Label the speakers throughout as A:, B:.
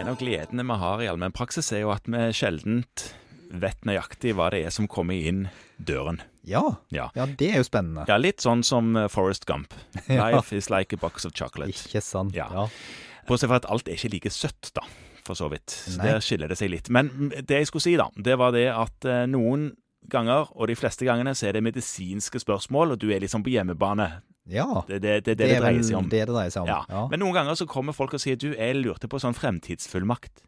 A: en av gledene vi har i allmennpraksis, er jo at vi sjeldent vet nøyaktig hva det er som kommer inn døren.
B: Ja.
A: Ja.
B: ja, det er jo spennende.
A: Ja, litt sånn som eh, Forrest Gump. Life is like a box of chocolate.
B: Ikke sant?
A: Ja.
B: Ja.
A: Bortsett fra at alt er ikke like søtt, da, for så vidt. Så
B: Nei.
A: der skiller det seg litt. Men mm, det jeg skulle si, da, det var det at eh, noen ganger, og de fleste gangene, så er det medisinske spørsmål, og du er liksom på hjemmebane.
B: ja.
A: Det, det, det, det, det, det
B: er
A: dreier
B: vel
A: seg om.
B: Det det dreier seg om.
A: Ja.
B: Ja.
A: Men noen ganger så kommer folk og sier du, jeg lurte på sånn fremtidsfullmakt.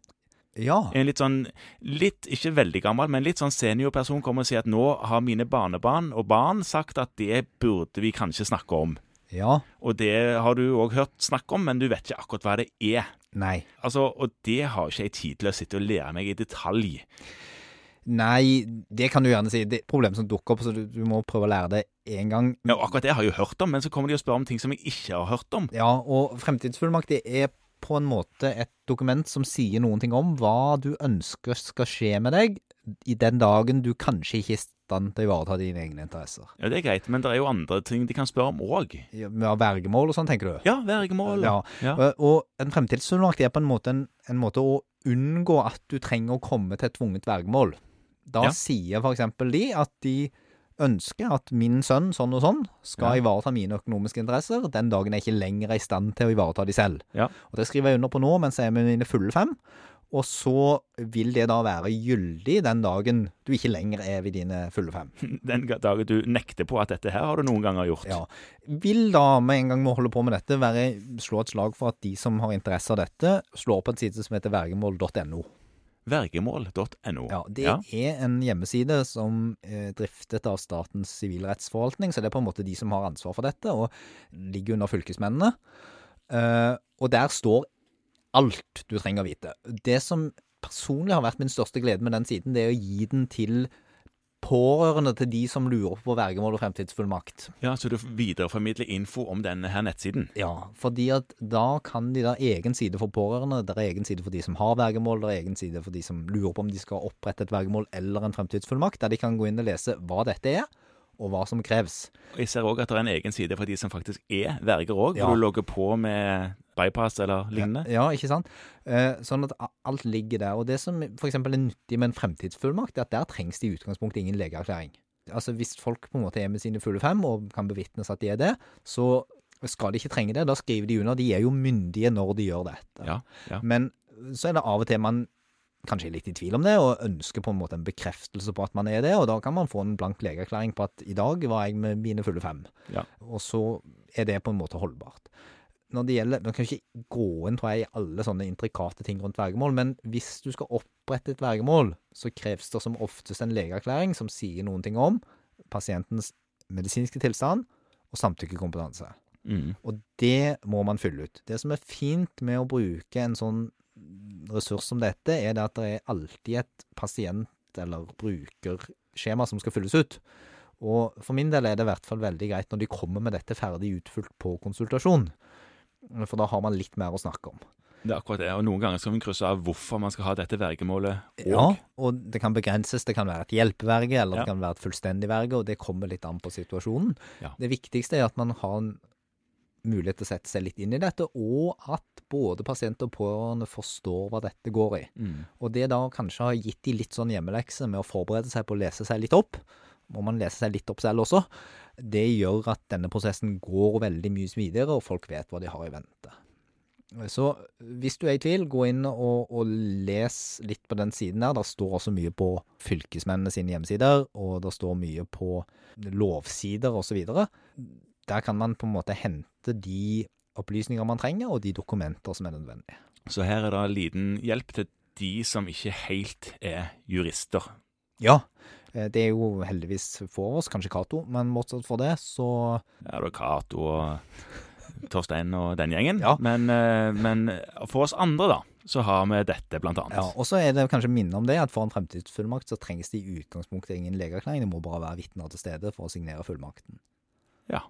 B: ja.
A: En litt sånn, litt, ikke veldig gammel, men litt sånn seniorperson kommer og sier at nå har mine barnebarn og barn sagt at det burde vi kanskje snakke om.
B: ja.
A: Og det har du òg hørt snakk om, men du vet ikke akkurat hva det er.
B: Nei.
A: Altså, Og det har ikke jeg tid til å sitte og lære meg i detalj.
B: Nei, det kan du gjerne si. Det er problemer som dukker opp, så du, du må prøve å lære det én gang.
A: Ja, og akkurat det har jeg jo hørt om, men så kommer de og spør om ting som jeg ikke har hørt om.
B: Ja, og fremtidsfullmakt det er på en måte et dokument som sier noen ting om hva du ønsker skal skje med deg i den dagen du kanskje ikke er i stand til å ivareta dine egne interesser.
A: Ja, Det er greit, men det er jo andre ting de kan spørre om òg.
B: Ja, Med vergemål og sånn, tenker du?
A: Ja, vergemål.
B: Ja.
A: Ja.
B: Og- Og en fremtidsfullmakt er på en måte en, en måte å unngå at du trenger å komme til et tvunget vergemål. Da
A: Ja.
B: sier for eksempel de at de ønsker at min sønn sånn og sånn skal
A: Ja.
B: ivareta mine økonomiske interesser den dagen jeg ikke lenger er i stand til å ivareta de selv.
A: Ja.
B: Og det skriver jeg under på nå mens jeg er med mine fulle fem. Og så vil det da være gyldig den dagen du ikke lenger er ved dine fulle fem.
A: Den ga- dagen du nekter på at dette her har du noen ganger gjort.
B: Ja. Vil da, med en gang vi holder på med dette, være, slå et slag for at de som har interesse av dette, slår opp en side som heter vergemål.no.
A: Vergemål.no.
B: Ja, det er en hjemmeside som eh, driftet av Statens sivilrettsforvaltning, så det er på en måte de som har ansvar for dette, og ligger under fylkesmennene. Eh, og der står alt du trenger å vite. Det som personlig har vært min største glede med den siden, det er å gi den til pårørende til de som lurer på vergemål og fremtidsfullmakt.
A: Ja, Så du videreformidler info om denne her nettsiden.
B: Ja, fordi at da kan de da egen side for pårørende, det er egen side for de som har vergemål, det er egen side for de som lurer på om de skal opprette et vergemål eller en fremtidsfullmakt, der de kan gå inn og lese hva dette er, og hva som kreves.
A: Og Jeg ser òg at det er en egen side for de som faktisk er verger òg,
B: Ja.
A: hvor du logger på med bypass eller lignende.
B: Ja, ikke sant? Eh, Sånn at a- alt ligger der. Og det som f.eks. er nyttig med en fremtidsfullmakt, er at der trengs det i utgangspunktet ingen legeerklæring. Altså Hvis folk på en måte er med sine fulle fem og kan bevitnes at de er det, så skal de ikke trenge det. Da skriver de under. De er jo myndige når de gjør dette.
A: Ja, ja.
B: Men så er det av og til man kanskje er litt i tvil om det, og ønsker på en måte en bekreftelse på at man er det, og da kan man få en blank legeerklæring på at i dag var jeg med mine fulle fem.
A: Ja.
B: Og så er det på en måte holdbart. Når det gjelder, Man kan jo ikke gå inn tror jeg, i alle sånne intrikate ting rundt vergemål, men hvis du skal opprette et vergemål, så kreves det som oftest en legeerklæring som sier noen ting om pasientens medisinske tilstand og samtykkekompetanse.
A: Mm.
B: Og det må man fylle ut. Det som er fint med å bruke en sånn ressurs som dette, er det at det er alltid et pasient- eller brukerskjema som skal fylles ut. Og for min del er det i hvert fall veldig greit når de kommer med dette ferdig utfylt på konsultasjon. For da har man litt mer å snakke om.
A: Det er akkurat det. Og noen ganger skal vi krysse av hvorfor man skal ha dette vergemålet òg.
B: Ja, og det kan begrenses. Det kan være et hjelpeverge, eller
A: Ja.
B: det kan være et fullstendig verge, og det kommer litt an på situasjonen.
A: Ja.
B: Det viktigste er at man har en mulighet til å sette seg litt inn i dette, og at både pasient og pårørende forstår hva dette går i.
A: Mm.
B: Og det da kanskje har gitt de litt sånn hjemmelekse med å forberede seg på å lese seg litt opp, må man lese seg litt opp selv også, det gjør at denne prosessen går veldig mye videre, og folk vet hva de har i vente. Så hvis du er i tvil, gå inn og, og les litt på den siden der. Der står også mye på fylkesmennene sine hjemmesider, og der står mye på lovsider osv. Der kan man på en måte hente de opplysninger man trenger, og de dokumenter som er nødvendige.
A: Så her er det en liten hjelp til de som ikke helt er jurister.
B: Ja, eh, det er jo heldigvis for oss, kanskje Cato, men bortsett fra det, så
A: Ja, det er Cato og Torstein og den gjengen.
B: Ja.
A: Men, eh, men for oss andre, da, så har vi dette, blant annet.
B: ja, Og så er det kanskje minne om det, at for en fremtidsfullmakt så trengs det i utgangspunktet ingen legeerklæring, det må bare være vitner til stede for å signere fullmakten.
A: Ja.